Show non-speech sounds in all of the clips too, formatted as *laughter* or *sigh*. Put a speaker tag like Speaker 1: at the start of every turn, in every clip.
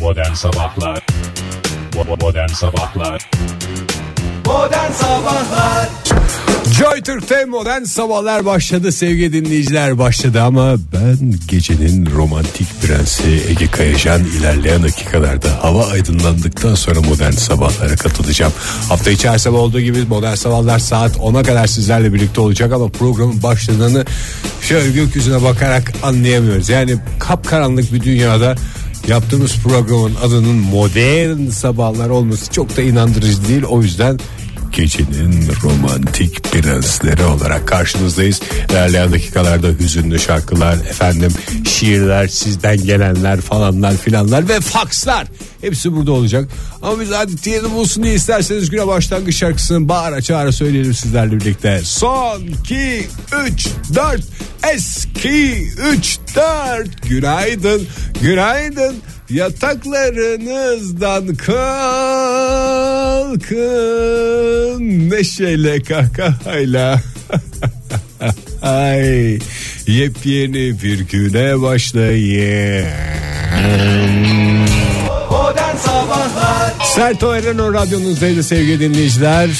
Speaker 1: Modern Sabahlar Bo- Modern Sabahlar
Speaker 2: Modern Sabahlar
Speaker 3: Joy Türk'te modern sabahlar başladı sevgili dinleyiciler başladı ama ben gecenin romantik prensi Ege Kayacan ilerleyen dakikalarda hava aydınlandıktan sonra modern sabahlara katılacağım. Hafta içi her sabah olduğu gibi modern sabahlar saat 10'a kadar sizlerle birlikte olacak ama programın başladığını şöyle gökyüzüne bakarak anlayamıyoruz. Yani kapkaranlık bir dünyada yaptığımız programın adının modern sabahlar olması çok da inandırıcı değil o yüzden Gecenin romantik prensleri olarak karşınızdayız. İlerleyen dakikalarda hüzünlü şarkılar, efendim şiirler, sizden gelenler falanlar filanlar ve fakslar. Hepsi burada olacak. Ama biz adeti yerini bulsun diye isterseniz güne başlangıç şarkısını bağıra çağıra söyleyelim sizlerle birlikte. Son 2, 3, 4, eski 3, 4. Günaydın, günaydın. Yataklarınızdan kalkın neşeyle kahkahayla. *laughs* Ay yepyeni bir güne başlayın.
Speaker 2: Modern Sabahlar
Speaker 3: Serto Erener radyonuzdaydı sevgili dinleyiciler.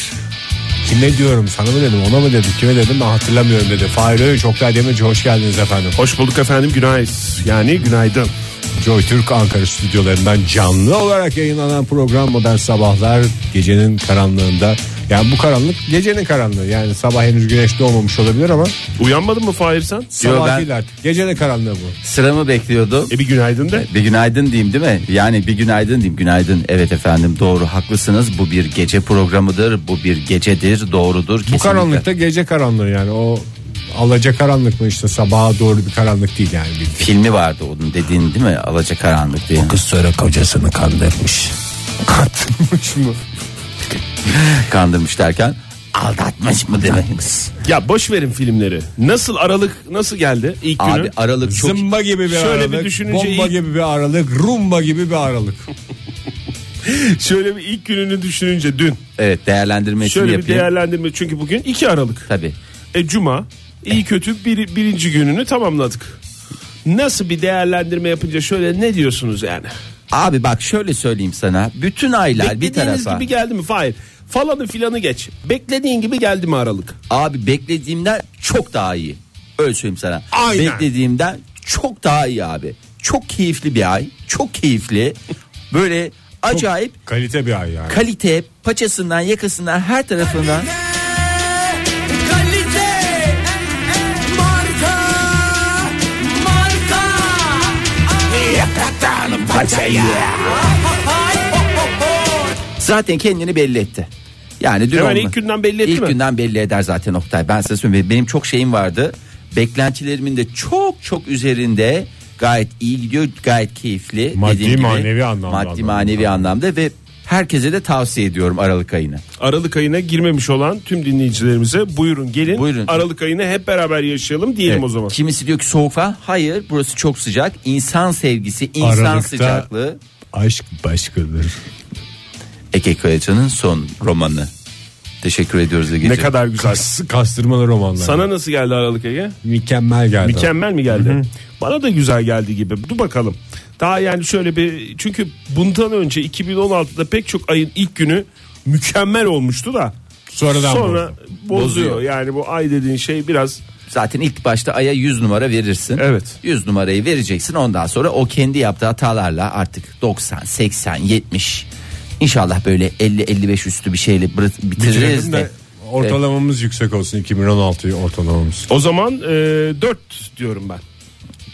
Speaker 3: Kime diyorum sana mı dedim ona mı dedim kime dedim ben hatırlamıyorum dedi. Fahir Öğünç, Oktay Demirci hoş geldiniz efendim.
Speaker 4: Hoş bulduk efendim günaydın. Yani günaydın.
Speaker 3: Joy Türk Ankara stüdyolarından canlı olarak yayınlanan program Modern Sabahlar gecenin karanlığında. Yani bu karanlık gecenin karanlığı. Yani sabah henüz güneş doğmamış olabilir ama
Speaker 4: Uyanmadın mı Fahir sen?
Speaker 3: sabah
Speaker 5: ben-
Speaker 3: değil artık. Gecenin karanlığı bu.
Speaker 5: Sıramı bekliyordum.
Speaker 4: E bir günaydın de.
Speaker 5: Bir günaydın diyeyim değil mi? Yani bir günaydın diyeyim. Günaydın. Evet efendim doğru haklısınız. Bu bir gece programıdır. Bu bir gecedir. Doğrudur.
Speaker 3: Bu
Speaker 5: Kesinlikle.
Speaker 3: karanlıkta gece karanlığı yani o alaca karanlık mı işte sabaha doğru bir karanlık değil yani.
Speaker 5: Filmi vardı onun dediğin değil mi? Alacakaranlık diye.
Speaker 3: Kız sonra kocasını
Speaker 5: *laughs*
Speaker 3: kandırmış. Kandırmış mı?
Speaker 5: Kandırmış derken aldatmış mı demek?
Speaker 4: Ya boş verin filmleri. Nasıl Aralık nasıl geldi ilk günü? *laughs*
Speaker 5: Abi Aralık çok
Speaker 3: Zımba gibi bir
Speaker 4: Şöyle bir
Speaker 3: aralık,
Speaker 4: düşününce
Speaker 3: bomba
Speaker 4: iyi-
Speaker 3: gibi bir aralık, rumba gibi bir aralık.
Speaker 4: Şöyle bir ilk gününü düşününce dün.
Speaker 5: evet değerlendirmesini
Speaker 4: Şöyle bir
Speaker 5: yapayım.
Speaker 4: değerlendirme çünkü bugün 2 Aralık.
Speaker 5: Tabii.
Speaker 4: E cuma iyi kötü bir, birinci gününü tamamladık. Nasıl bir değerlendirme yapınca şöyle ne diyorsunuz yani?
Speaker 5: Abi bak şöyle söyleyeyim sana. Bütün aylar bir
Speaker 4: Beklediğiniz
Speaker 5: tarafa.
Speaker 4: gibi geldi mi Fahir? Falanı filanı geç. Beklediğin gibi geldi mi Aralık?
Speaker 5: Abi beklediğimden çok daha iyi. Öyle söyleyeyim sana.
Speaker 4: Aynen.
Speaker 5: Beklediğimden çok daha iyi abi. Çok keyifli bir ay. Çok keyifli. Böyle
Speaker 3: *laughs*
Speaker 5: acayip
Speaker 3: Kalite bir ay yani.
Speaker 5: kalite paçasından yakasından her tarafından. Zaten kendini belli etti. Yani dün
Speaker 4: Hemen
Speaker 5: olma-
Speaker 4: ilk günden belli etti
Speaker 5: İlk
Speaker 4: mi?
Speaker 5: günden belli eder zaten Oktay. Ben size söyleyeyim benim çok şeyim vardı. Beklentilerimin de çok çok üzerinde gayet iyi gidiyor gayet keyifli.
Speaker 3: Maddi,
Speaker 5: Dediğim gibi,
Speaker 3: manevi anlamda
Speaker 5: Maddi
Speaker 3: anlamda.
Speaker 5: manevi anlamda ve herkese de tavsiye ediyorum Aralık ayını.
Speaker 4: Aralık ayına girmemiş olan tüm dinleyicilerimize buyurun gelin.
Speaker 5: Buyurun.
Speaker 4: Aralık ayını hep beraber yaşayalım diyelim
Speaker 5: Evet.
Speaker 4: o zaman.
Speaker 5: Kimisi diyor ki soğuk falan. Hayır burası çok sıcak. İnsan sevgisi, insan
Speaker 3: Aralıkta-
Speaker 5: sıcaklığı.
Speaker 3: Aşk başkadır.
Speaker 5: Eke Kayacan'ın son romanı. Teşekkür ediyoruz Ege'ciğim.
Speaker 4: Ne kadar güzel.
Speaker 3: Kas- kastırmalı romanlar.
Speaker 4: Sana nasıl geldi Aralık ayı?
Speaker 3: mükemmel geldi.
Speaker 4: Mükemmel mi geldi? Bana da güzel geldi gibi. Dur bakalım. Daha yani şöyle bir çünkü bundan önce 2016'da pek çok ayın ilk günü mükemmel olmuştu da
Speaker 3: Sonradan
Speaker 4: sonra
Speaker 3: bozdu.
Speaker 4: bozuyor.
Speaker 5: Bozuyor.
Speaker 4: Yani bu ay dediğin şey biraz
Speaker 5: Zaten ilk başta aya 100 numara verirsin.
Speaker 4: Evet.
Speaker 5: 100 numarayı vereceksin. Ondan sonra o kendi yaptığı hatalarla artık 90, 80, 70 İnşallah böyle 50-55 üstü bir şeyle bıra- bitiririz
Speaker 3: Bitirelim
Speaker 5: de.
Speaker 3: de ortalamamız yüksek olsun 2016'yı ortalamamız.
Speaker 4: o zaman 4 diyorum ben.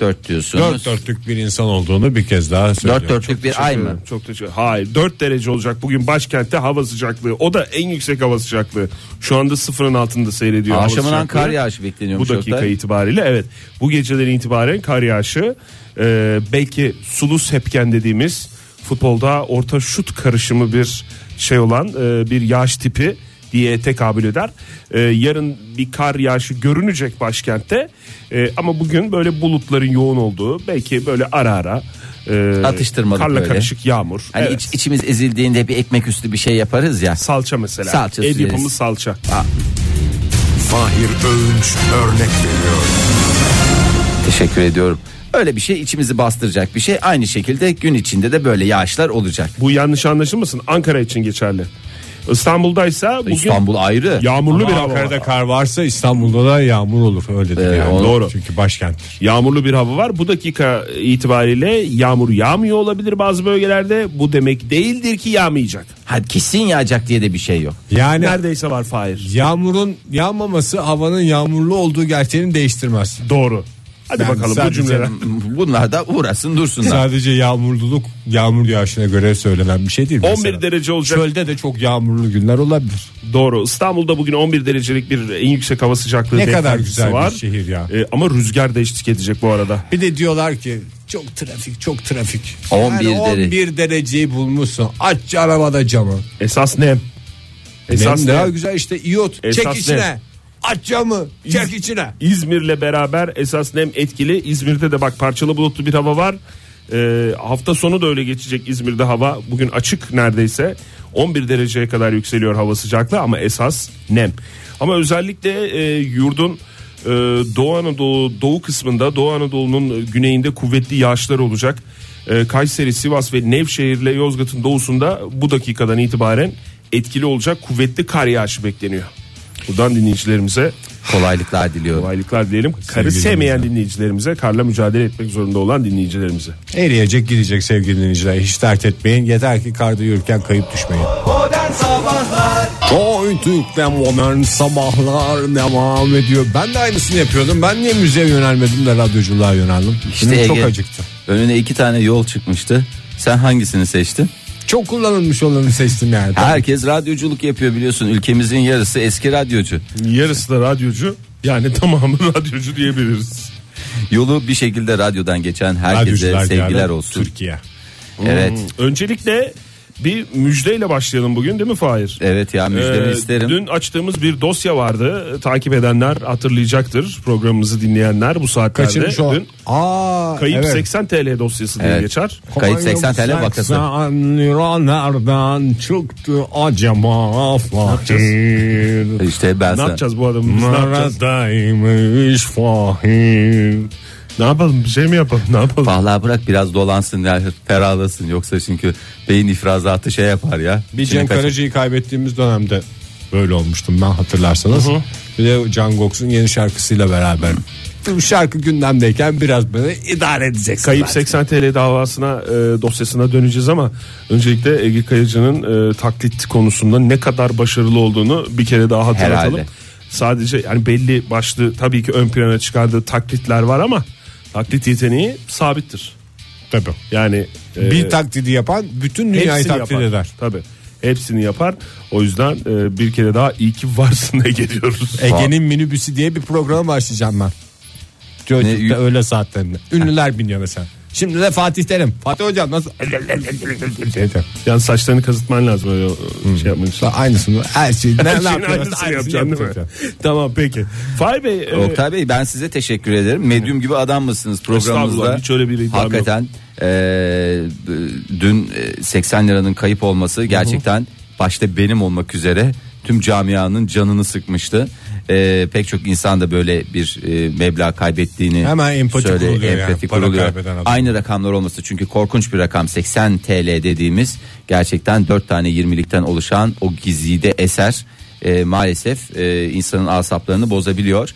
Speaker 5: 4 diyorsunuz.
Speaker 3: Dört
Speaker 5: 4
Speaker 3: dörtlük bir insan olduğunu bir kez daha söylüyorum.
Speaker 5: dörtlük bir ay mı?
Speaker 4: Çok teşekkür Hayır 4 derece olacak bugün başkentte hava sıcaklığı. O da en yüksek hava sıcaklığı. Şu anda sıfırın altında seyrediyor hava
Speaker 5: Akşamından
Speaker 4: sıcaklığı.
Speaker 5: kar yağışı bekleniyormuş.
Speaker 4: Bu dakika
Speaker 5: Oktay.
Speaker 4: itibariyle evet. Bu geceden itibaren kar yağışı e, belki sulu sepken dediğimiz futbolda orta şut karışımı bir şey olan e, bir yağış tipi diye tekabül eder. E, yarın bir kar yağışı görünecek başkentte. E, ama bugün böyle bulutların yoğun olduğu belki böyle ara ara e,
Speaker 5: Atıştırmalık
Speaker 4: karla
Speaker 5: böyle.
Speaker 4: karışık yağmur.
Speaker 5: Hani
Speaker 4: Evet.
Speaker 5: iç- içimiz ezildiğinde bir ekmek üstü bir şey yaparız ya.
Speaker 4: Salça mesela.
Speaker 5: Salça
Speaker 4: El
Speaker 5: süreriz.
Speaker 4: yapımı salça.
Speaker 5: Teşekkür ediyorum. Öyle bir şey içimizi bastıracak bir şey. Aynı şekilde gün içinde de böyle yağışlar olacak.
Speaker 4: Bu yanlış anlaşılmasın Ankara için geçerli. İstanbul'daysa bugün
Speaker 5: İstanbul ayrı.
Speaker 4: yağmurlu bir hava
Speaker 3: Ankara'da
Speaker 4: var.
Speaker 3: kar varsa İstanbul'da da yağmur olur öyle
Speaker 5: Ee,
Speaker 3: yani.
Speaker 5: o-
Speaker 3: Doğru. Çünkü başkenttir.
Speaker 4: Yağmurlu bir hava var. Bu dakika itibariyle yağmur yağmıyor olabilir bazı bölgelerde. Bu demek değildir ki yağmayacak.
Speaker 5: Ha, kesin yağacak diye de bir şey yok.
Speaker 3: Yani
Speaker 4: Neredeyse var Fahir.
Speaker 3: yağmurun yağmaması havanın yağmurlu olduğu gerçeğini değiştirmez.
Speaker 4: Doğru. Hadi
Speaker 3: Ben
Speaker 4: bakalım bu
Speaker 3: sadece-
Speaker 4: cümleler.
Speaker 5: Bunlar da uğrasın dursunlar.
Speaker 3: Sadece yağmurluluk yağmur yağışına göre söylenen bir şey değil.
Speaker 4: 11
Speaker 3: mesela.
Speaker 4: derece olacak.
Speaker 3: Çölde de çok yağmurlu günler olabilir.
Speaker 4: Doğru. İstanbul'da bugün 11 derecelik bir en yüksek hava sıcaklığı
Speaker 3: Ne kadar
Speaker 4: beklentisi
Speaker 3: güzel bir
Speaker 4: var.
Speaker 3: şehir ya.
Speaker 4: Ee, ama rüzgar da eşlik edecek bu arada.
Speaker 3: Bir de diyorlar ki çok trafik çok trafik.
Speaker 5: 11
Speaker 3: yani 11 dereceyi bulmuşsun. Aç arabada camı.
Speaker 4: Esas nem. Esas
Speaker 3: Esas
Speaker 4: nem.
Speaker 3: daha güzel işte iot.
Speaker 4: Esas
Speaker 3: çek
Speaker 4: ne?
Speaker 3: içine. Aç camı. Çek içine.
Speaker 4: İzmir'le beraber esas nem etkili. İzmir'de de bak parçalı bulutlu bir hava var. Ee, hafta sonu da öyle geçecek İzmir'de hava. Bugün açık neredeyse. 11 dereceye kadar yükseliyor hava sıcaklığı ama esas nem. Ama özellikle e, yurdun e, Doğu Anadolu doğu kısmında Doğu Anadolu'nun güneyinde kuvvetli yağışlar olacak. E, Kayseri, Sivas ve Nevşehir ile Yozgat'ın doğusunda bu dakikadan itibaren etkili olacak kuvvetli kar yağışı bekleniyor. Buradan dinleyicilerimize
Speaker 5: Kolaylıklar diliyorum.
Speaker 4: kolaylıklar diyelim. Karı
Speaker 3: Sevgili
Speaker 4: sevmeyen dinleyicilerimize, karla mücadele etmek zorunda olan dinleyicilerimize.
Speaker 3: Eriyecek gidecek sevgili dinleyiciler. Hiç dert etmeyin. Yeter ki karda yürürken kayıp düşmeyin.
Speaker 2: Modern Sabahlar
Speaker 3: Joytürk'ten modern sabahlar devam ediyor. Ben de aynısını yapıyordum. Ben niye müzeye yönelmedim de radyoculuğa yöneldim. İşte
Speaker 5: İşte
Speaker 3: çok
Speaker 5: Ege,
Speaker 3: acıktı.
Speaker 5: Önüne iki tane yol çıkmıştı. Sen hangisini seçtin?
Speaker 3: Çok kullanılmış olanı seçtim yani.
Speaker 5: Herkes radyoculuk yapıyor biliyorsun. Ülkemizin yarısı eski radyocu.
Speaker 4: Yarısı da radyocu. Yani tamamı *laughs* radyocu diyebiliriz.
Speaker 5: Yolu bir şekilde radyodan geçen herkese
Speaker 3: Radyocular
Speaker 5: sevgiler
Speaker 3: yani
Speaker 5: olsun.
Speaker 3: Türkiye.
Speaker 5: Evet.
Speaker 4: Öncelikle bir müjdeyle başlayalım bugün değil mi Fahir?
Speaker 5: Evet ya müjdemi
Speaker 4: Ee,
Speaker 5: isterim.
Speaker 4: Dün açtığımız bir dosya vardı. Takip edenler hatırlayacaktır. Programımızı dinleyenler bu saatlerde.
Speaker 3: Kaçırmış o.
Speaker 4: Dün
Speaker 3: Aa,
Speaker 4: kayıp
Speaker 3: evet.
Speaker 4: 80 TL dosyası diye
Speaker 5: Evet.
Speaker 4: geçer.
Speaker 5: Kayıp 80 TL
Speaker 3: Konya'nın
Speaker 5: vakası.
Speaker 3: 80 lira nereden çıktı acaba Fahir?
Speaker 5: İşte ben
Speaker 4: Ne
Speaker 5: sana.
Speaker 4: yapacağız bu adamı? biz Ne yapacağız?
Speaker 3: Neredeymiş Fahir?
Speaker 4: Ne yapalım? Bir şey mi yapalım? Ne yapalım?
Speaker 5: Vallahi bırak biraz dolansın ya ferahlasın yoksa çünkü beyin ifrazatı şey yapar ya.
Speaker 3: Bir
Speaker 5: İçini
Speaker 3: Cem
Speaker 5: kaçır-
Speaker 3: Karaca'yı kaybettiğimiz dönemde böyle olmuştum ben hatırlarsanız. Bir de Can Goks'un yeni şarkısıyla beraber. Bu şarkı gündemdeyken biraz böyle idare edeceksin.
Speaker 4: Kayıp
Speaker 3: bence.
Speaker 4: 80 TL davasına e, dosyasına döneceğiz ama öncelikle Ege Kayıcı'nın e, taklit konusunda ne kadar başarılı olduğunu bir kere daha hatırlatalım.
Speaker 5: Herhalde.
Speaker 4: Sadece yani belli başlı tabii ki ön plana çıkardığı taklitler var ama taklit yeteneği sabittir.
Speaker 3: Tabii.
Speaker 4: Yani e,
Speaker 3: bir taklidi yapan bütün dünyayı
Speaker 4: hepsini
Speaker 3: taklit
Speaker 4: yapar.
Speaker 3: eder.
Speaker 4: Tabii. Hepsini yapar. O yüzden e, bir kere daha iyi ki varsın Ege diyoruz.
Speaker 3: Ege'nin minibüsü diye bir programa başlayacağım ben.
Speaker 5: Ne,
Speaker 3: Çocukta
Speaker 5: y-
Speaker 3: öğle saatlerinde. Ünlüler biniyor mesela. Şimdi de Fatih Terim. Fatih Hocam nasıl?
Speaker 4: *laughs* Yani saçlarını kazıtman lazım öyle e, şey yapmak için.
Speaker 3: Ben Aynısını her şeyi. Ne, ne
Speaker 4: Her şeyin
Speaker 3: yapıyoruz?
Speaker 4: aynısını
Speaker 3: Aynısını
Speaker 4: yapacağım değil mi?
Speaker 3: yapacağım.
Speaker 4: tamam peki. Fahir Bey e,
Speaker 5: Oktay Bey ben size teşekkür ederim. Medyum gibi adam mısınız programımızda?
Speaker 4: Estağfurullah, hiç öyle bir iddiam yok.
Speaker 5: Hakikaten eee, b- dün e, 80 liranın kayıp olması gerçekten başta benim olmak üzere tüm camianın canını sıkmıştı. Eee, pek çok insan da böyle bir e, meblağ kaybettiğini
Speaker 3: Hemen empati
Speaker 5: söyle-
Speaker 3: kuruluyor yani,
Speaker 5: empati
Speaker 3: para
Speaker 5: kuruluyor.
Speaker 3: kaybeden adam.
Speaker 5: Aynı rakamlar olması çünkü korkunç bir rakam 80 TL dediğimiz gerçekten 4 tane 20'likten oluşan o gizide eser e, maalesef e, insanın asaplarını bozabiliyor.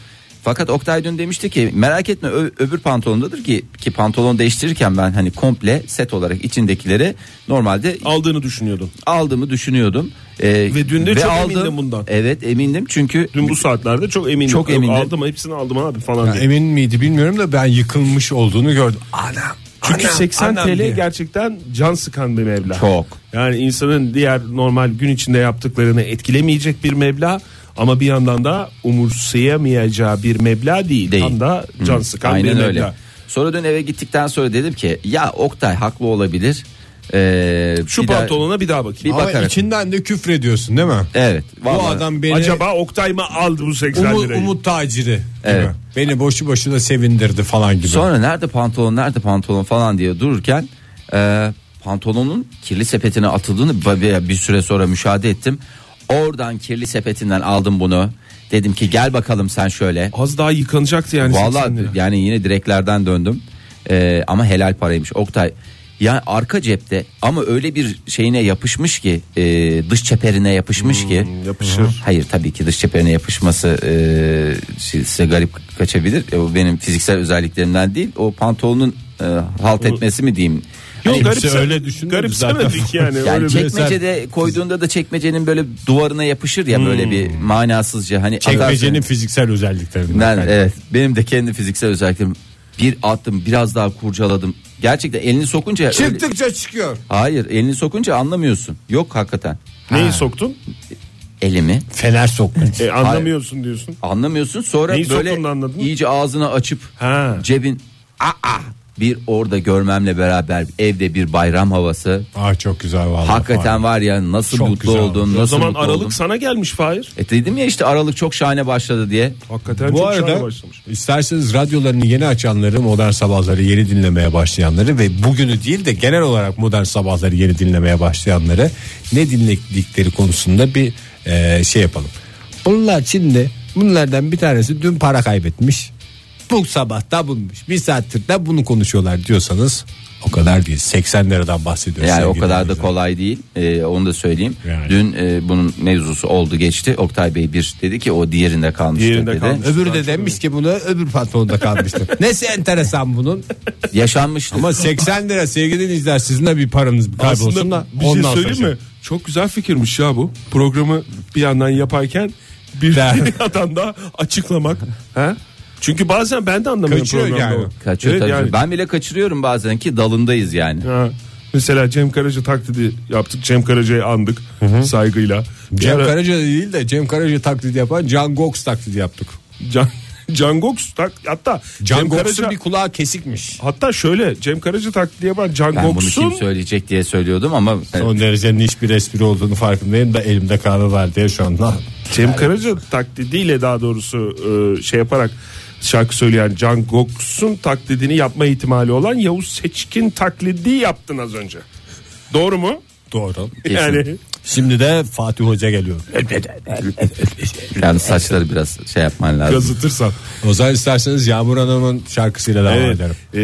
Speaker 5: Fakat Oktay dün demişti ki merak etme ö- öbür pantolondadır ki ki pantolon değiştirirken ben hani komple set olarak içindekileri normalde
Speaker 4: aldığını düşünüyordun.
Speaker 5: aldığımı düşünüyordum. E,
Speaker 4: Ve dün de çok emindim bundan.
Speaker 5: Evet emindim çünkü
Speaker 4: Dün bu saatlerde çok emindim.
Speaker 5: Çok
Speaker 4: Yok,
Speaker 5: emindim. e,
Speaker 4: Aldım hepsini aldım abi falan
Speaker 3: Ben
Speaker 4: diye.
Speaker 3: emin miydi bilmiyorum da ben yıkılmış olduğunu gördüm. Anam.
Speaker 4: Çünkü
Speaker 3: anam,
Speaker 4: 80
Speaker 3: anam
Speaker 4: TL
Speaker 3: diye.
Speaker 4: gerçekten can sıkan bir meblağ.
Speaker 5: Çok.
Speaker 4: Yani insanın diğer normal gün içinde yaptıklarını etkilemeyecek bir meblağ ama bir yandan da umursayamayacağı bir meblağ değil.
Speaker 5: Değil.
Speaker 4: Tam da can sıkan bir
Speaker 5: Aynen
Speaker 4: meblağ.
Speaker 5: öyle. Sonra dün eve gittikten sonra dedim ki ya Oktay haklı olabilir. Ee,
Speaker 4: Şu
Speaker 5: bir daha-
Speaker 4: pantolona bir daha bakayım.
Speaker 5: Bir
Speaker 3: Ama
Speaker 5: bakarak.
Speaker 3: içinden de küfür ediyorsun değil mi?
Speaker 5: Evet.
Speaker 3: Bu
Speaker 5: vallahi.
Speaker 3: adam beni
Speaker 4: Acaba Oktay mı aldı bu 80
Speaker 3: umut,
Speaker 4: lirayı?
Speaker 3: umut taciri gibi.
Speaker 5: Evet.
Speaker 3: Beni boşu boşuna sevindirdi falan gibi.
Speaker 5: Sonra nerede pantolon nerede pantolon falan diye dururken e, pantolonun kirli sepetine atıldığını ba- bir- bir süre sonra müşahede ettim. Oradan kirli sepetinden aldım bunu. Dedim ki gel bakalım sen şöyle.
Speaker 4: Az daha yıkanacaktı yani 80
Speaker 5: Vallahi
Speaker 4: lira.
Speaker 5: yani yine direklerden döndüm. Ee, ama helal paraymış. Oktay yani arka cepte ama öyle bir şeyine yapışmış ki e, dış çeperine yapışmış ki.
Speaker 4: Hmm, yapışır.
Speaker 5: Hayır tabii ki dış çeperine yapışması e, şey, size garip kaçabilir. E, o benim fiziksel özelliklerimden değil. O pantolonun e, halt etmesi mi diyeyim?
Speaker 4: Yok
Speaker 5: Hani-
Speaker 4: garipse,
Speaker 3: öyle düşünmedi
Speaker 4: garipsemedik
Speaker 3: zaten.
Speaker 4: yani.
Speaker 5: yani
Speaker 4: öyle bir-
Speaker 5: çekmecede koyduğunda da çekmecenin böyle duvarına yapışır ya
Speaker 4: Hmm.
Speaker 5: böyle bir manasızca hani
Speaker 3: Çekmecenin
Speaker 5: atarsın.
Speaker 3: fiziksel özelliklerinden.
Speaker 5: ben,
Speaker 4: e-
Speaker 5: evet benim de kendi fiziksel özelliklerim bir attım biraz daha kurcaladım. Gerçekten elini sokunca öyle-
Speaker 2: Çıktıkça çıkıyor.
Speaker 5: hayır elini sokunca anlamıyorsun. Yok hakikaten.
Speaker 4: Neyi
Speaker 5: Ha,
Speaker 4: soktun?
Speaker 5: elimi
Speaker 3: Fener sokmuş.
Speaker 4: E, anlamıyorsun diyorsun.
Speaker 5: anlamıyorsun sonra
Speaker 4: Neyi soktuğunu da
Speaker 5: böyle
Speaker 4: anladın mı?
Speaker 5: iyice ağzını açıp
Speaker 4: Ha.
Speaker 5: cebin aa bir orada görmemle beraber evde bir bayram havası.
Speaker 3: *laughs* ah çok güzel vallahi.
Speaker 5: Hakikaten
Speaker 3: Fahir.
Speaker 5: var ya nasıl
Speaker 3: Çok
Speaker 5: mutlu
Speaker 3: güzel.
Speaker 5: oldum. Nasıl
Speaker 4: O zaman
Speaker 5: mutlu
Speaker 4: Aralık
Speaker 5: oldum.
Speaker 4: sana gelmiş Fahir.
Speaker 5: E dedim ya işte Aralık çok şahane başladı diye.
Speaker 4: Hakikaten
Speaker 3: Bu
Speaker 4: çok şahane
Speaker 3: arada
Speaker 4: başlamış.
Speaker 3: isterseniz radyolarını yeni açanları, modern sabahları yeni dinlemeye başlayanları ve bugünü değil de genel olarak modern sabahları yeni dinlemeye başlayanları ne dinledikleri konusunda bir e, şey yapalım. Bunlar şimdi bunlardan bir tanesi dün para kaybetmiş. Bu sabah da bulmuş. Bir saattir de bunu konuşuyorlar diyorsanız o kadar değil. 80 liradan bahsediyoruz.
Speaker 5: E, Yani o
Speaker 3: sevgili
Speaker 5: kadar da
Speaker 3: dinleyiciler.
Speaker 5: kolay değil. Ee, onu da söyleyeyim.
Speaker 3: Yani.
Speaker 5: Dün e, bunun mevzusu oldu geçti. Oktay Bey bir dedi ki o diğerinde kalmıştı
Speaker 4: Diğerinde
Speaker 5: dedi.
Speaker 4: kalmış.
Speaker 3: Öbürü de demiş ki bunu öbür patronda *laughs* kalmıştır. Nesi enteresan bunun?
Speaker 5: Yaşanmıştı.
Speaker 3: Ama 80 lira sevgili dinleyiciler sizin de bir paranız bir kaybolsun da
Speaker 6: Aslında bir şey
Speaker 3: ondan
Speaker 6: söyleyeyim
Speaker 3: sonra.
Speaker 6: mi? Çok güzel fikirmiş ya bu. Programı bir yandan yaparken bir
Speaker 3: Der.
Speaker 4: *laughs*
Speaker 6: yandan da açıklamak.
Speaker 4: Ha? Çünkü bazen ben de anlamıyorum
Speaker 3: Kaçıyor
Speaker 4: programda.
Speaker 3: yani.
Speaker 4: o.
Speaker 5: Kaçıyor
Speaker 4: Evet
Speaker 5: tabii.
Speaker 4: yani.
Speaker 5: Ben bile kaçırıyorum bazen ki dalındayız yani.
Speaker 4: Ha. Mesela Cem Karaca taklidi yaptık. Cem Karaca'yı andık saygıyla. Bir
Speaker 3: Cem
Speaker 4: ara-
Speaker 3: Karaca değil de Cem Karaca taklidi yapan Can Gox taklidi yaptık.
Speaker 4: Can, *laughs* Can Goks tak, hatta
Speaker 3: Can
Speaker 4: Cem
Speaker 3: Gox'un
Speaker 4: Karaca
Speaker 3: bir kulağı kesikmiş.
Speaker 4: hatta şöyle Cem Karaca taklidi yapan Can
Speaker 5: Ben bunu
Speaker 4: Goks'un
Speaker 5: kim söyleyecek diye söylüyordum ama e,
Speaker 3: Son derecenin hiçbir espri olduğunu farkındayım da elimde kahve var diye şu anda.
Speaker 4: Cem Karaca taklidiyle daha doğrusu e, şey yaparak şarkı söyleyen Can Goks'un taklidini yapma ihtimali olan Yavuz Seçkin taklidi yaptın az önce. Doğru mu?
Speaker 3: Doğru.
Speaker 5: Kesin.
Speaker 4: Yani
Speaker 3: Şimdi de Fatih Hoca geliyor.
Speaker 5: yani saçları biraz şey yapman lazım.
Speaker 4: gazıtırsan.
Speaker 3: O zaman isterseniz Yağmur Hanım'ın şarkısıyla devam
Speaker 4: Evet.
Speaker 3: edelim.
Speaker 4: E,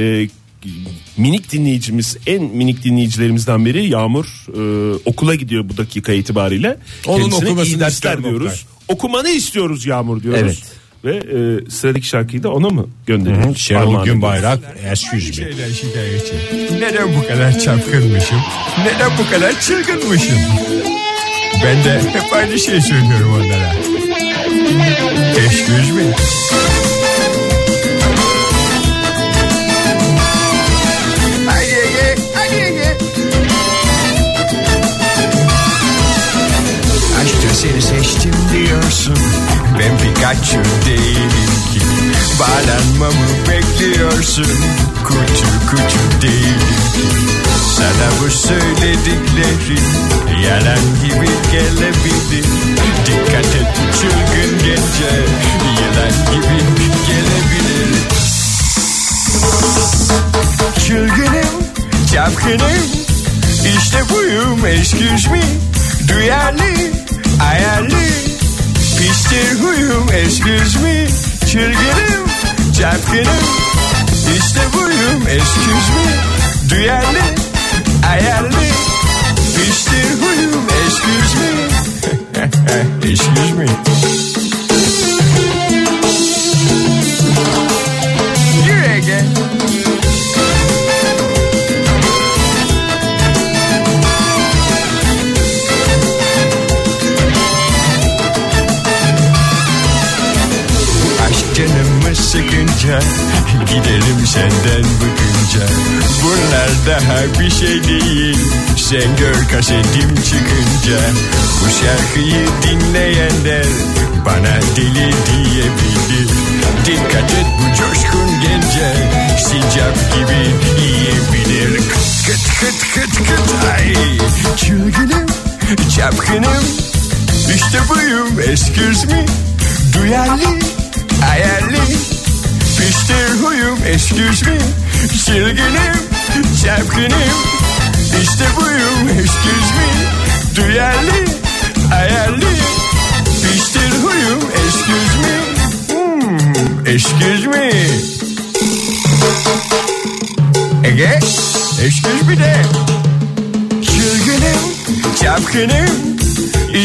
Speaker 4: minik dinleyicimiz en minik dinleyicilerimizden biri Yağmur e, okula gidiyor bu dakika itibariyle.
Speaker 3: Onun
Speaker 4: Kendisine
Speaker 3: okumasını
Speaker 4: iyi dersler
Speaker 3: isterim
Speaker 4: diyoruz. Okumanı istiyoruz Yağmur diyoruz.
Speaker 5: Evet.
Speaker 4: Ve e, sıradaki şarkıyı da ona mı gönderiyoruz?
Speaker 3: Şenol
Speaker 4: Armağan ediyoruz.
Speaker 3: Günbayrak Excuse me. Neden bu kadar çapkınmışım? Neden bu kadar çılgınmışım? Ben de hep aynı şeyi söylüyorum onlara. Excuse me.
Speaker 2: Aşkta seni seçtim diyorsun Ben Pikachu değilim ki Bağlanmamı bekliyorsun Kutu kutu değilim ki Sana bu söylediklerim Yalan gibi gelebilir Dikkat et çılgın gece Yalan gibi gelebilir Çılgınım, çapkınım İşte buyum, excuse me Duyarlı, ayarlı Pişti huyum, excuse me Çılgınım, çapkınım İşte buyum, excuse me Duyarlı, ayarlı Pişti huyum, excuse *laughs* me Excuse me Here again Aşk canımı sıkınca Giderim senden bıkınca Bunlar daha bir şey değil Sen gör kasetim çıkınca Bu şarkıyı dinleyenler Bana deli diyebilir Dikkat et bu coşkun gence Sincap gibi yiyebilir Kıt kıt kıt kıt kıt Ay çılgınım Çapkınım İşte buyum excuse me Duyarlı, ayarlı Pişti huyum, excuse me Çılgınım, çapkınım İşte buyum, excuse me Duyarlı, ayarlı Pişti huyum, excuse me Hmm, excuse me Ege. Excuse me de. Çılgınım, çapkınım.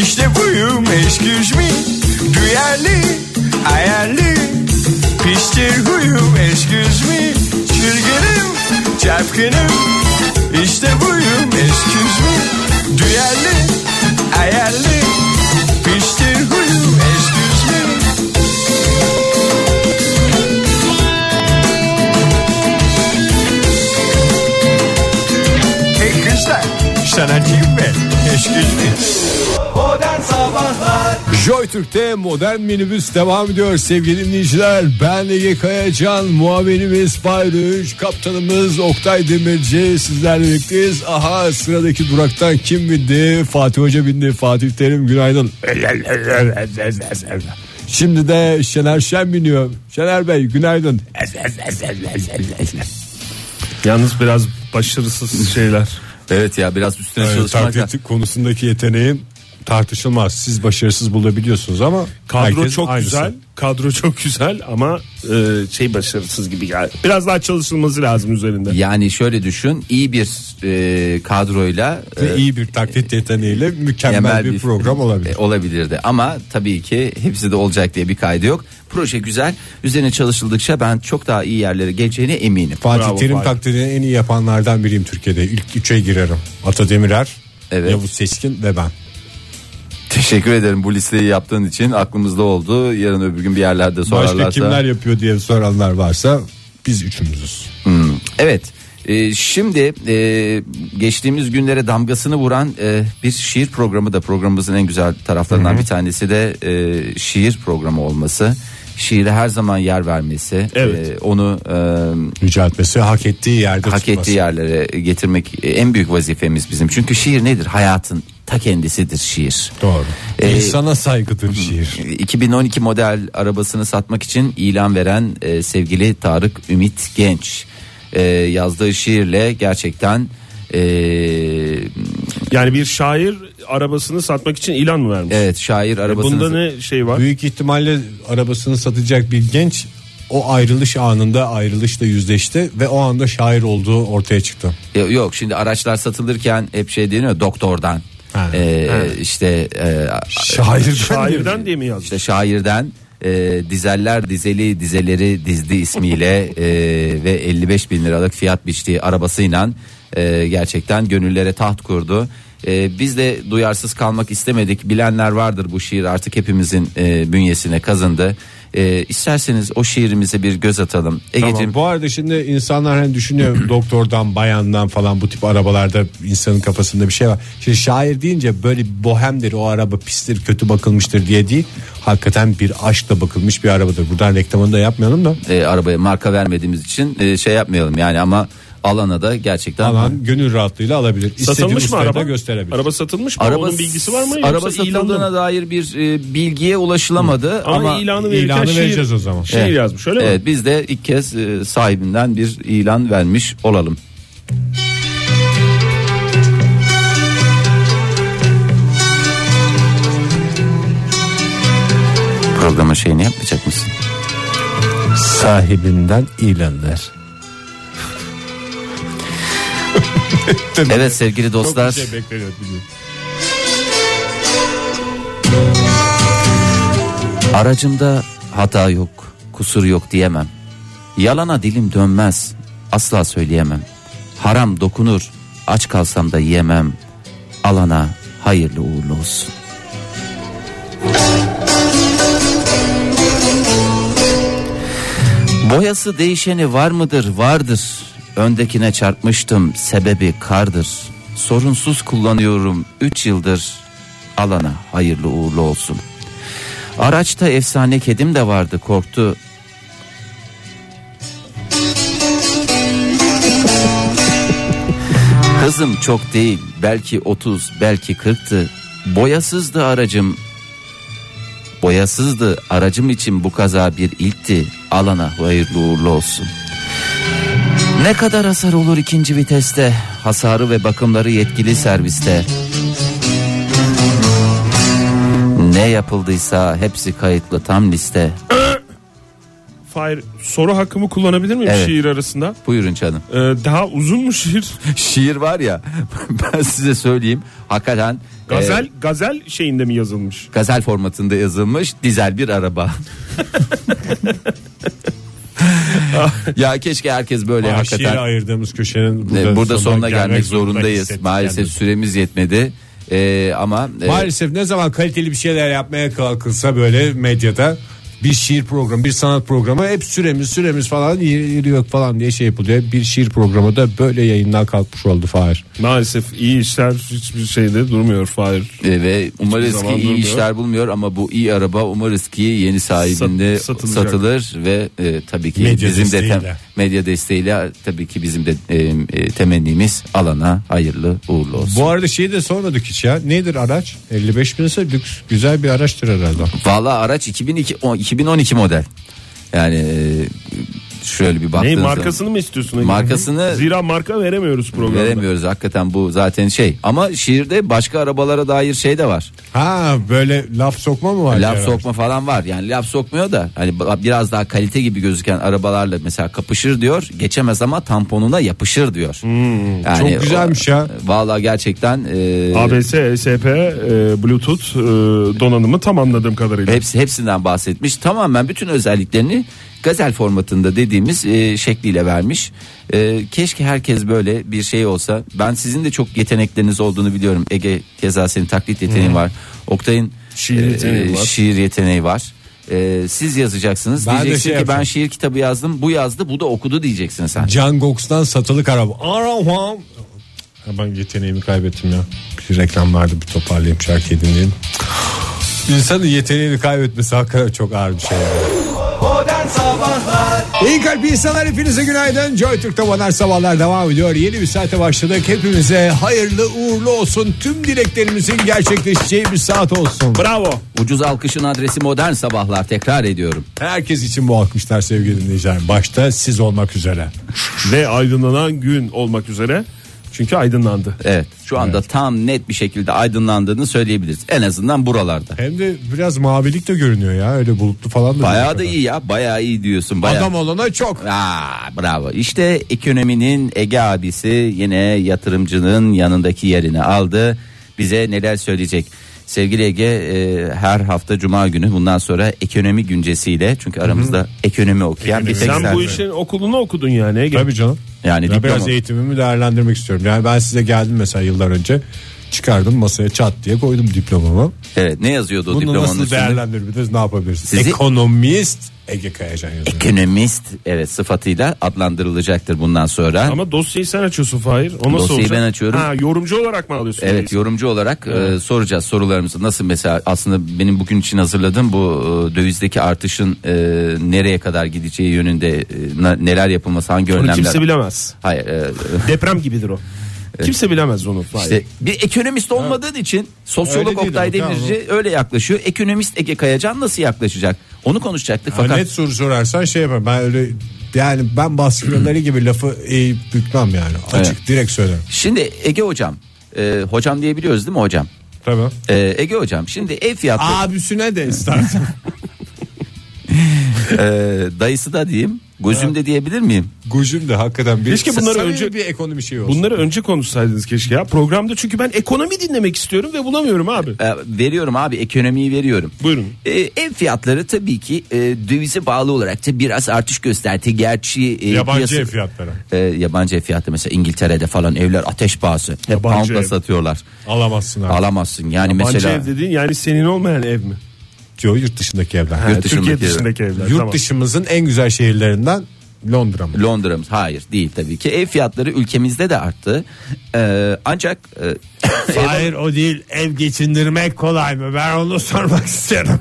Speaker 2: İşte buyum excuse me. Duyarlı, ayarlı. Piştir huyum excuse me. Çılgınım, çapkınım. İşte buyum excuse me. Duyarlı, ayarlı. Piştir huyum excuse me. Hey kızlar sanatçıyım ben. Excuse me.
Speaker 3: Joy Türk'te modern minibüs devam ediyor sevgili dinleyiciler. Ben Ege Kayacan, muhabirimiz Bayrıç, kaptanımız Oktay Demirci sizlerle birlikteyiz. Aha sıradaki duraktan kim bindi? Fatih Hoca bindi. Fatih Terim günaydın. Şimdi de Şener Şen biniyor. Şener Bey günaydın.
Speaker 4: Yalnız biraz
Speaker 3: *laughs*
Speaker 4: başarısız şeyler.
Speaker 5: Evet ya biraz üstüne
Speaker 3: Evet,
Speaker 5: çalışmak da-
Speaker 3: taklit konusundaki yeteneğim tartışılmaz. Siz başarısız bulabiliyorsunuz ama
Speaker 4: Kadro
Speaker 3: herkes
Speaker 4: çok
Speaker 3: aynısı.
Speaker 4: güzel. Kadro çok güzel ama e, şey başarısız gibi geldi. Biraz daha çalışılması lazım üzerinde.
Speaker 5: Yani şöyle düşün iyi bir e, kadroyla e,
Speaker 3: Ve iyi bir taklit
Speaker 4: E,
Speaker 3: yeteneğiyle mükemmel
Speaker 5: mükemmel
Speaker 3: bir, program olabilir.
Speaker 5: e, olabilirdi ama tabii ki hepsi de olacak diye bir kaydı yok. Proje güzel. Üzerine çalışıldıkça ben çok daha iyi yerlere geleceğine eminim.
Speaker 3: Fatih
Speaker 4: Bravo
Speaker 3: Terim
Speaker 4: Fatih.
Speaker 3: taklidini en iyi yapanlardan biriyim Türkiye'de. İlk üçe girerim. Ata Demirer,
Speaker 5: Evet.
Speaker 3: Yavuz Seçkin ve ben.
Speaker 5: Teşekkür ederim bu listeyi yaptığın için. Aklımızda oldu. Yarın öbür gün bir yerlerde sorarlarsa.
Speaker 3: Başka kimler yapıyor diye soranlar varsa biz üçümüzüz.
Speaker 5: Hmm, Evet. Ee, şimdi e, geçtiğimiz günlere damgasını vuran e, bir şiir programı da programımızın en güzel taraflarından bir tanesi de e, şiir programı olması. Şiire her zaman yer vermesi.
Speaker 4: Evet.
Speaker 5: e, onu e,
Speaker 3: Rica etmesi hak ettiği yerde
Speaker 5: hak
Speaker 3: tutması.
Speaker 5: ettiği yerlere getirmek e, en büyük vazifemiz bizim. Çünkü şiir nedir? Hayatın ta kendisidir şiir.
Speaker 3: Doğru.
Speaker 5: Ee,
Speaker 3: İnsana saygıdır şiir.
Speaker 5: 2012 model arabasını satmak için ilan veren e, sevgili Tarık Ümit Genç E, yazdığı şiirle gerçekten e,
Speaker 4: Yani bir şair arabasını satmak için ilan mı vermiş?
Speaker 5: evet şair arabasını
Speaker 4: E, Bunda ne şey var?
Speaker 3: Büyük ihtimalle arabasını satacak bir genç o ayrılış anında ayrılışla yüzleşti ve o anda şair olduğu ortaya çıktı.
Speaker 5: Ya Yok şimdi araçlar satılırken hep şey deniyor doktordan
Speaker 3: Ha.
Speaker 5: E, işte e,
Speaker 3: Şair
Speaker 4: Şairden diye mi yazmış?
Speaker 5: işte şairden e, dizeller dizeli dizeleri dizdi ismiyle e, ve 55 bin liralık fiyat biçtiği arabasıyla e, gerçekten gönüllere taht kurdu. E, biz de duyarsız kalmak istemedik. Bilenler vardır bu şiir artık hepimizin e, bünyesine kazındı. E, isterseniz o şiirimize bir göz atalım. Egeciğim
Speaker 3: Tamam. Bu arada şimdi insanlar hani
Speaker 4: *clears throat*
Speaker 3: düşünüyor doktordan bayandan falan bu tip arabalarda insanın kafasında bir şey var. Şimdi şair deyince böyle bir bohemdir o araba pistir kötü bakılmıştır diye değil. Hakikaten bir aşkla bakılmış bir arabadır. Buradan reklamını da yapmayalım da.
Speaker 5: e, arabaya marka vermediğimiz için e, şey yapmayalım yani ama alana da gerçekten
Speaker 3: Alan gönül rahatlığıyla alabilir. İstediği
Speaker 4: Satılmış mı
Speaker 3: ustaya da
Speaker 4: araba?
Speaker 3: gösterebilir.
Speaker 4: Araba satılmış mı? Onun bilgisi var mı?
Speaker 5: Araba
Speaker 4: Yoksa ilan mı?
Speaker 5: satıldığına dair bir e, bilgiye ulaşılamadı
Speaker 4: Ama,
Speaker 5: ama
Speaker 4: ilanı verirken
Speaker 3: ilanı
Speaker 4: şiir-
Speaker 3: vereceğiz o zaman.
Speaker 4: Şiir şey yazmış öyle mi?
Speaker 5: Evet biz de ilk kez e, sahibinden bir ilan vermiş olalım. Programa şeyini yapmayacak mısın?
Speaker 3: Sahibinden ilanlar.
Speaker 5: Evet sevgili dostlar. Aracımda hata yok, kusur yok diyemem. Yalana dilim dönmez, asla söyleyemem. Haram dokunur, aç kalsam da yiyemem. Alana hayırlı uğurlu olsun. Boyası değişeni var mıdır? Vardır. Öndekine çarpmıştım. Sebebi kardır. Sorunsuz kullanıyorum 3 yıldır. Alana hayırlı uğurlu olsun. Araçta efsane kedim de vardı korktu. Hızım çok değil belki 30 belki 40'tı. Boyasızdı aracım. Boyasızdı aracım için bu kaza bir ilkti. Alana hayırlı uğurlu olsun. Ne kadar hasar olur ikinci viteste? Hasarı ve bakımları yetkili serviste. Ne yapıldıysa hepsi kayıtlı tam liste.
Speaker 4: Fahir soru hakkımı kullanabilir miyim
Speaker 5: Evet.
Speaker 4: şiir arasında?
Speaker 5: Buyurun canım.
Speaker 4: Ee, daha uzun mu şiir?
Speaker 5: Şiir var ya *laughs* ben size söyleyeyim. Hakikaten
Speaker 4: Gazel
Speaker 5: e,
Speaker 4: gazel şeyinde mi yazılmış?
Speaker 5: gazel formatında yazılmış dizel bir araba. ya keşke herkes böyle
Speaker 3: Hakikaten.
Speaker 5: hakikaten
Speaker 3: ayırdığımız köşenin
Speaker 5: E,
Speaker 3: burada,
Speaker 5: burada, sonuna gelmek,
Speaker 3: zorunda
Speaker 5: zorundayız.
Speaker 3: hissettik
Speaker 5: Maalesef
Speaker 3: kendimizi.
Speaker 5: süremiz yetmedi. E, ama e,
Speaker 3: Maalesef ne zaman kaliteli bir şeyler yapmaya kalkılsa böyle medyada bir şiir programı, bir sanat programı hep süremiz süremiz falan yok falan diye şey yapılıyor. Bir şiir programı da böyle yayından kalkmış oldu Fahir.
Speaker 4: Maalesef iyi işler hiçbir şeyde durmuyor Fahir.
Speaker 5: e, ve umarız ki
Speaker 4: zaman
Speaker 5: iyi
Speaker 4: durmuyor.
Speaker 5: işler bulmuyor ama bu iyi araba umarız ki yeni sahibinde
Speaker 4: Sat- satılacak.
Speaker 5: satılır ve e, tabii ki
Speaker 3: Medya
Speaker 5: bizim de tem-
Speaker 3: desteğiyle.
Speaker 5: medya desteğiyle tabii ki bizim de e, e, temennimiz alana hayırlı uğurlu olsun.
Speaker 3: Bu arada şeyi de sormadık hiç ya. Nedir araç? 55 bin ise lüks güzel bir araçtır herhalde.
Speaker 5: Valla araç 2002, o- 2012 model. Yani e, şöyle bir baktığınız
Speaker 4: Ne
Speaker 5: zaman-
Speaker 4: markasını mı istiyorsun? Ege?
Speaker 5: Markasını-
Speaker 4: Zira marka veremiyoruz programda.
Speaker 5: veremiyoruz hakikaten bu zaten şey. Ama şiirde başka arabalara dair şey de var.
Speaker 3: Ha böyle laf sokma mı var?
Speaker 5: laf
Speaker 3: yani?
Speaker 5: sokma falan var. Yani laf sokmuyor da hani ba- biraz daha kalite gibi gözüken arabalarla mesela kapışır diyor. Geçemez ama tamponuna yapışır diyor. yani
Speaker 3: Hmm, çok güzelmiş ya.
Speaker 5: Valla gerçten e,
Speaker 4: ABS, ESP, e, Bluetooth e, donanımı tam anladığım kadarıyla.
Speaker 5: hepsi hepsinden bahsetmiş. Tamamen bütün özelliklerini gazel formatında dediğimiz e, şekliyle vermiş. E, keşke herkes böyle bir şey olsa. Ben sizin de çok yetenekleriniz olduğunu biliyorum. Ege keza senin taklit yeteneğin var. Oktay'ın e,
Speaker 4: Şiir yeteneği var.
Speaker 5: şiir yeteneği var. E, siz yazacaksınız.
Speaker 3: Ben de
Speaker 5: Diyeceksin
Speaker 3: şey
Speaker 5: ki ben
Speaker 3: yapacağım.
Speaker 5: şiir kitabı yazdım. Bu yazdı, bu da okudu diyeceksin sen.
Speaker 3: Can Goks'tan satılık araba. Arabam. Ya Ben yeteneğimi kaybettim ya. Bir reklam vardı bir toparlayayım şarkıyı dinleyelim. İnsanın yeteneğini kaybetmesi hakikaten çok ağır bir şey. yani. İyi kalp insanlar hepinize günaydın. Joy Türk'te modern sabahlar devam ediyor. Yeni bir saate başladık. Hepimize hayırlı uğurlu olsun. Tüm dileklerimizin gerçekleşeceği bir saat olsun.
Speaker 4: Bravo.
Speaker 5: Ucuz alkışın adresi modern sabahlar tekrar ediyorum.
Speaker 3: Herkes için bu alkışlar sevgili dinleyiciler. Başta siz olmak üzere.
Speaker 4: Ve aydınlanan gün olmak üzere. Çünkü aydınlandı.
Speaker 5: Evet şu anda tam net bir şekilde aydınlandığını söyleyebiliriz. En azından buralarda.
Speaker 3: Hem de biraz mavilik de görünüyor ya. Öyle bulutlu falan da.
Speaker 5: Bayağı da
Speaker 3: değil.
Speaker 5: iyi ya. Bayağı iyi diyorsun. Bayağı.
Speaker 3: Adam olana çok.
Speaker 5: Aa, bravo. İşte ekonominin Ege abisi yine yatırımcının yanındaki yerini aldı. Bize neler söyleyecek? Sevgili Ege e, her hafta cuma günü bundan sonra ekonomi güncesiyle çünkü aramızda ekonomi okuyan bir tek
Speaker 4: Sen
Speaker 5: sen.
Speaker 4: bu işin okulunu okudun yani Ege.
Speaker 3: Tabii canım.
Speaker 5: Yani
Speaker 3: Ya biraz
Speaker 5: diploma-
Speaker 3: eğitimimi değerlendirmek istiyorum. Yani ben size geldim mesela yıllar önce. Çıkardım masaya çat diye koydum diplomamı.
Speaker 5: Evet ne yazıyordu o
Speaker 3: Bunu
Speaker 5: diplomanın
Speaker 3: nasıl
Speaker 5: üstünde?
Speaker 3: değerlendirebiliriz ne yapabiliriz?
Speaker 5: Sizi-
Speaker 3: Ekonomist Ege Kayacan yazıyor.
Speaker 5: Ekonomist evet sıfatıyla adlandırılacaktır bundan sonra.
Speaker 4: Ama dosyayı sen açıyorsun Fahir. O nasıl
Speaker 5: Dosyayı
Speaker 4: olacak?
Speaker 5: ben açıyorum.
Speaker 4: Ha, yorumcu olarak mı alıyorsun?
Speaker 5: Evet yorumcu olarak e, soracağız sorularımızı nasıl mesela aslında benim bugün için hazırladığım bu e, dövizdeki artışın e, nereye kadar gideceği yönünde e, na- neler yapılması hangi
Speaker 4: Onu
Speaker 5: önlemler
Speaker 4: kimse bilemez.
Speaker 5: Hayır e, e,
Speaker 4: Deprem gibidir o. Kimse bilemez onu Fahir.
Speaker 5: işte bir ekonomist olmadığın için sosyolog
Speaker 3: Öyle değil
Speaker 5: Oktay
Speaker 3: ama, tamam.
Speaker 5: Demirci öyle yaklaşıyor. Ekonomist Ege Kayacan nasıl yaklaşacak? Onu konuşacaktık
Speaker 3: Ha,
Speaker 5: fakat
Speaker 3: net soru sorarsan şey yapar. Ben öyle yani ben baskınları gibi lafı eğip bükmem yani. Açık direkt söylerim.
Speaker 5: şimdi Ege hocam e, hocam diyebiliyoruz değil mi hocam?
Speaker 3: Tamam.
Speaker 5: E, Ege hocam şimdi ev fiyatları
Speaker 3: Abisine de istersen. *laughs*
Speaker 5: e, dayısı da diyeyim gözüm de diyebilir miyim?
Speaker 3: Gocum da hakikaten bir,
Speaker 4: Keşke bunları
Speaker 3: Samimi
Speaker 4: önce-
Speaker 3: bir ekonomi şey olsun.
Speaker 4: Bunları önce konuşsaydınız keşke ya programda çünkü ben ekonomi dinlemek istiyorum ve bulamıyorum abi.
Speaker 5: E, veriyorum abi ekonomiyi veriyorum.
Speaker 4: Buyurun.
Speaker 5: E, ev fiyatları tabii ki e, dövize bağlı olarak da biraz artış gösterdi. Gerçi e,
Speaker 3: Yabancı
Speaker 5: piyasa-
Speaker 3: ev fiyatları.
Speaker 5: E, yabancı ev fiyatı mesela İngiltere'de falan evler ateş pahası. Hep
Speaker 4: Yabancı
Speaker 5: poundla
Speaker 4: ev.
Speaker 5: satıyorlar.
Speaker 3: Alamazsın abi.
Speaker 5: Alamazsın yani
Speaker 4: Mesela...
Speaker 5: mesela
Speaker 4: ev dediğin yani senin olmayan ev mi?
Speaker 3: Diyor yurt dışındaki evler.
Speaker 4: Ha,
Speaker 5: Yurt dışındaki
Speaker 4: Türkiye
Speaker 5: ev.
Speaker 4: dışındaki evler.
Speaker 3: Yurt
Speaker 4: tamam.
Speaker 3: dışımızın en güzel şehirlerinden Londra mı?
Speaker 5: Londra mı? Hayır değil tabii ki. Ev fiyatları ülkemizde de arttı. E, ancak e,
Speaker 3: Hayır o değil ev geçindirmek kolay mı? Ben onu *laughs* sormak
Speaker 5: *laughs*
Speaker 3: istiyorum.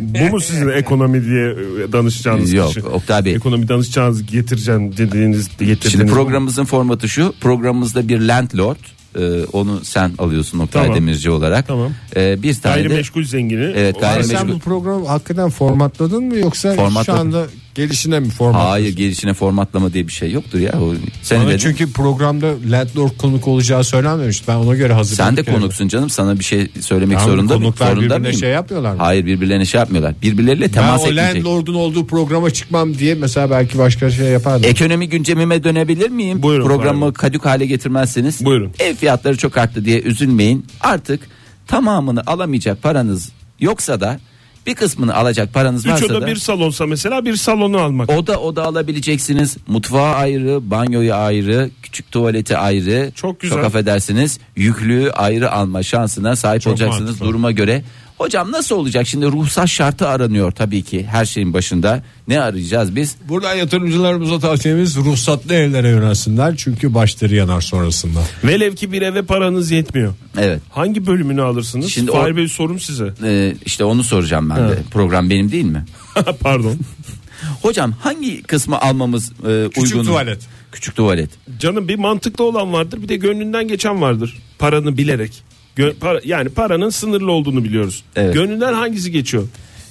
Speaker 4: Bu mu sizin ekonomi diye e, danışacağınız
Speaker 5: Yok,
Speaker 4: kişi?
Speaker 5: Oktay Bey.
Speaker 4: Ekonomi danışacağınız getireceğim dediğiniz getirdiğiniz.
Speaker 5: Şimdi programımızın formatı şu. Programımızda bir landlord e, onu sen alıyorsun Oktay
Speaker 4: Tamam.
Speaker 5: Demirci olarak.
Speaker 4: Tamam.
Speaker 5: E, bir tane de
Speaker 4: gayrimeşgul zengini.
Speaker 5: Evet,
Speaker 4: O-
Speaker 5: gayrimeşgul.
Speaker 3: Sen bu programı hakikaten formatladın mı yoksa
Speaker 5: Formatladım.
Speaker 3: şu anda Gelişine mi format?
Speaker 5: Hayır gelişine formatlama diye bir şey yoktur ya. O- Sen
Speaker 3: Bana
Speaker 5: de
Speaker 3: çünkü programda landlord konuk olacağı söylenmemiş. Ben ona göre hazır.
Speaker 5: sen de
Speaker 3: bekliyorum.
Speaker 5: konuksun canım sana bir şey söylemek
Speaker 3: Tamam,
Speaker 5: zorunda
Speaker 3: konuklar
Speaker 5: zorunda
Speaker 3: birbirine
Speaker 5: mıyım?
Speaker 3: şey yapmıyorlar mı?
Speaker 5: Hayır birbirlerine şey yapmıyorlar. Birbirleriyle
Speaker 3: Ben
Speaker 5: temas
Speaker 3: o
Speaker 5: etmeyecek.
Speaker 3: landlord'un olduğu programa çıkmam diye mesela belki başka şey yapardım.
Speaker 5: Ekonomi gündemime dönebilir miyim?
Speaker 4: Buyurun,
Speaker 5: Programı
Speaker 4: pardon.
Speaker 5: kadük hale getirmezseniz
Speaker 4: Buyurun.
Speaker 5: ev fiyatları çok arttı diye üzülmeyin. Artık tamamını alamayacak paranız yoksa da bir kısmını alacak paranız
Speaker 4: Üç
Speaker 5: varsa
Speaker 4: oda
Speaker 5: da
Speaker 4: bir salonsa mesela bir salonu almak.
Speaker 5: oda oda alabileceksiniz. Mutfağı ayrı, banyoyu ayrı, küçük tuvaleti ayrı.
Speaker 4: Çok güzel.
Speaker 5: Çok affedersiniz. Yüklüğü ayrı alma şansına sahip olacaksınız duruma göre. Hocam nasıl olacak? Şimdi ruhsat şartı aranıyor tabii ki her şeyin başında. Ne arayacağız biz?
Speaker 3: Buradan yatırımcılarımıza tavsiyemiz ruhsatlı evlere yönelsinler. Çünkü başları yanar sonrasında.
Speaker 4: Velev ki bir eve paranız yetmiyor.
Speaker 5: Evet.
Speaker 4: Hangi bölümünü alırsınız?
Speaker 5: Şimdi
Speaker 4: Şimdi
Speaker 5: o-
Speaker 4: Fahir Bey sorum size. *laughs*
Speaker 5: Ee, işte onu soracağım ben de. Program benim değil mi?
Speaker 4: Pardon.
Speaker 5: Hocam hangi kısmı almamız e, uygun?
Speaker 3: tuvalet.
Speaker 5: Küçük tuvalet.
Speaker 4: Canım bir mantıklı olan vardır bir de gönlünden geçen vardır. Paranı bilerek. Gö- para- yani paranın sınırlı olduğunu biliyoruz.
Speaker 5: Evet.
Speaker 4: Gönlünden hangisi geçiyor?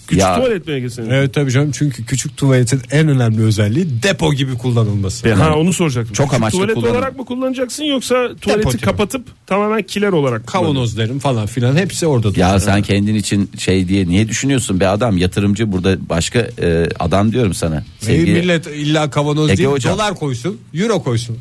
Speaker 4: Küçük
Speaker 5: Ya-
Speaker 4: tuvalet mi geçiyor?
Speaker 3: Evet tabii canım çünkü küçük tuvaletin en önemli özelliği depo gibi kullanılması.
Speaker 4: E, Ha onu soracaktım.
Speaker 5: Çok
Speaker 4: Küçük
Speaker 5: amaçlı
Speaker 4: Tuvalet
Speaker 5: kullanım.
Speaker 4: olarak mı kullanacaksın yoksa tuvaleti
Speaker 3: Depo tipi.
Speaker 4: kapatıp tamamen kiler olarak mı kullanacaksın?
Speaker 3: Kavanozların falan filan hepsi orada duruyor.
Speaker 5: Ya sen kendin için şey diye niye düşünüyorsun be adam yatırımcı burada başka e, adam diyorum sana.
Speaker 3: Ee,
Speaker 5: Sevgili,
Speaker 3: millet illa kavanoz
Speaker 5: Ege
Speaker 3: değil
Speaker 5: Hocam.
Speaker 3: dolar koysun euro koysun.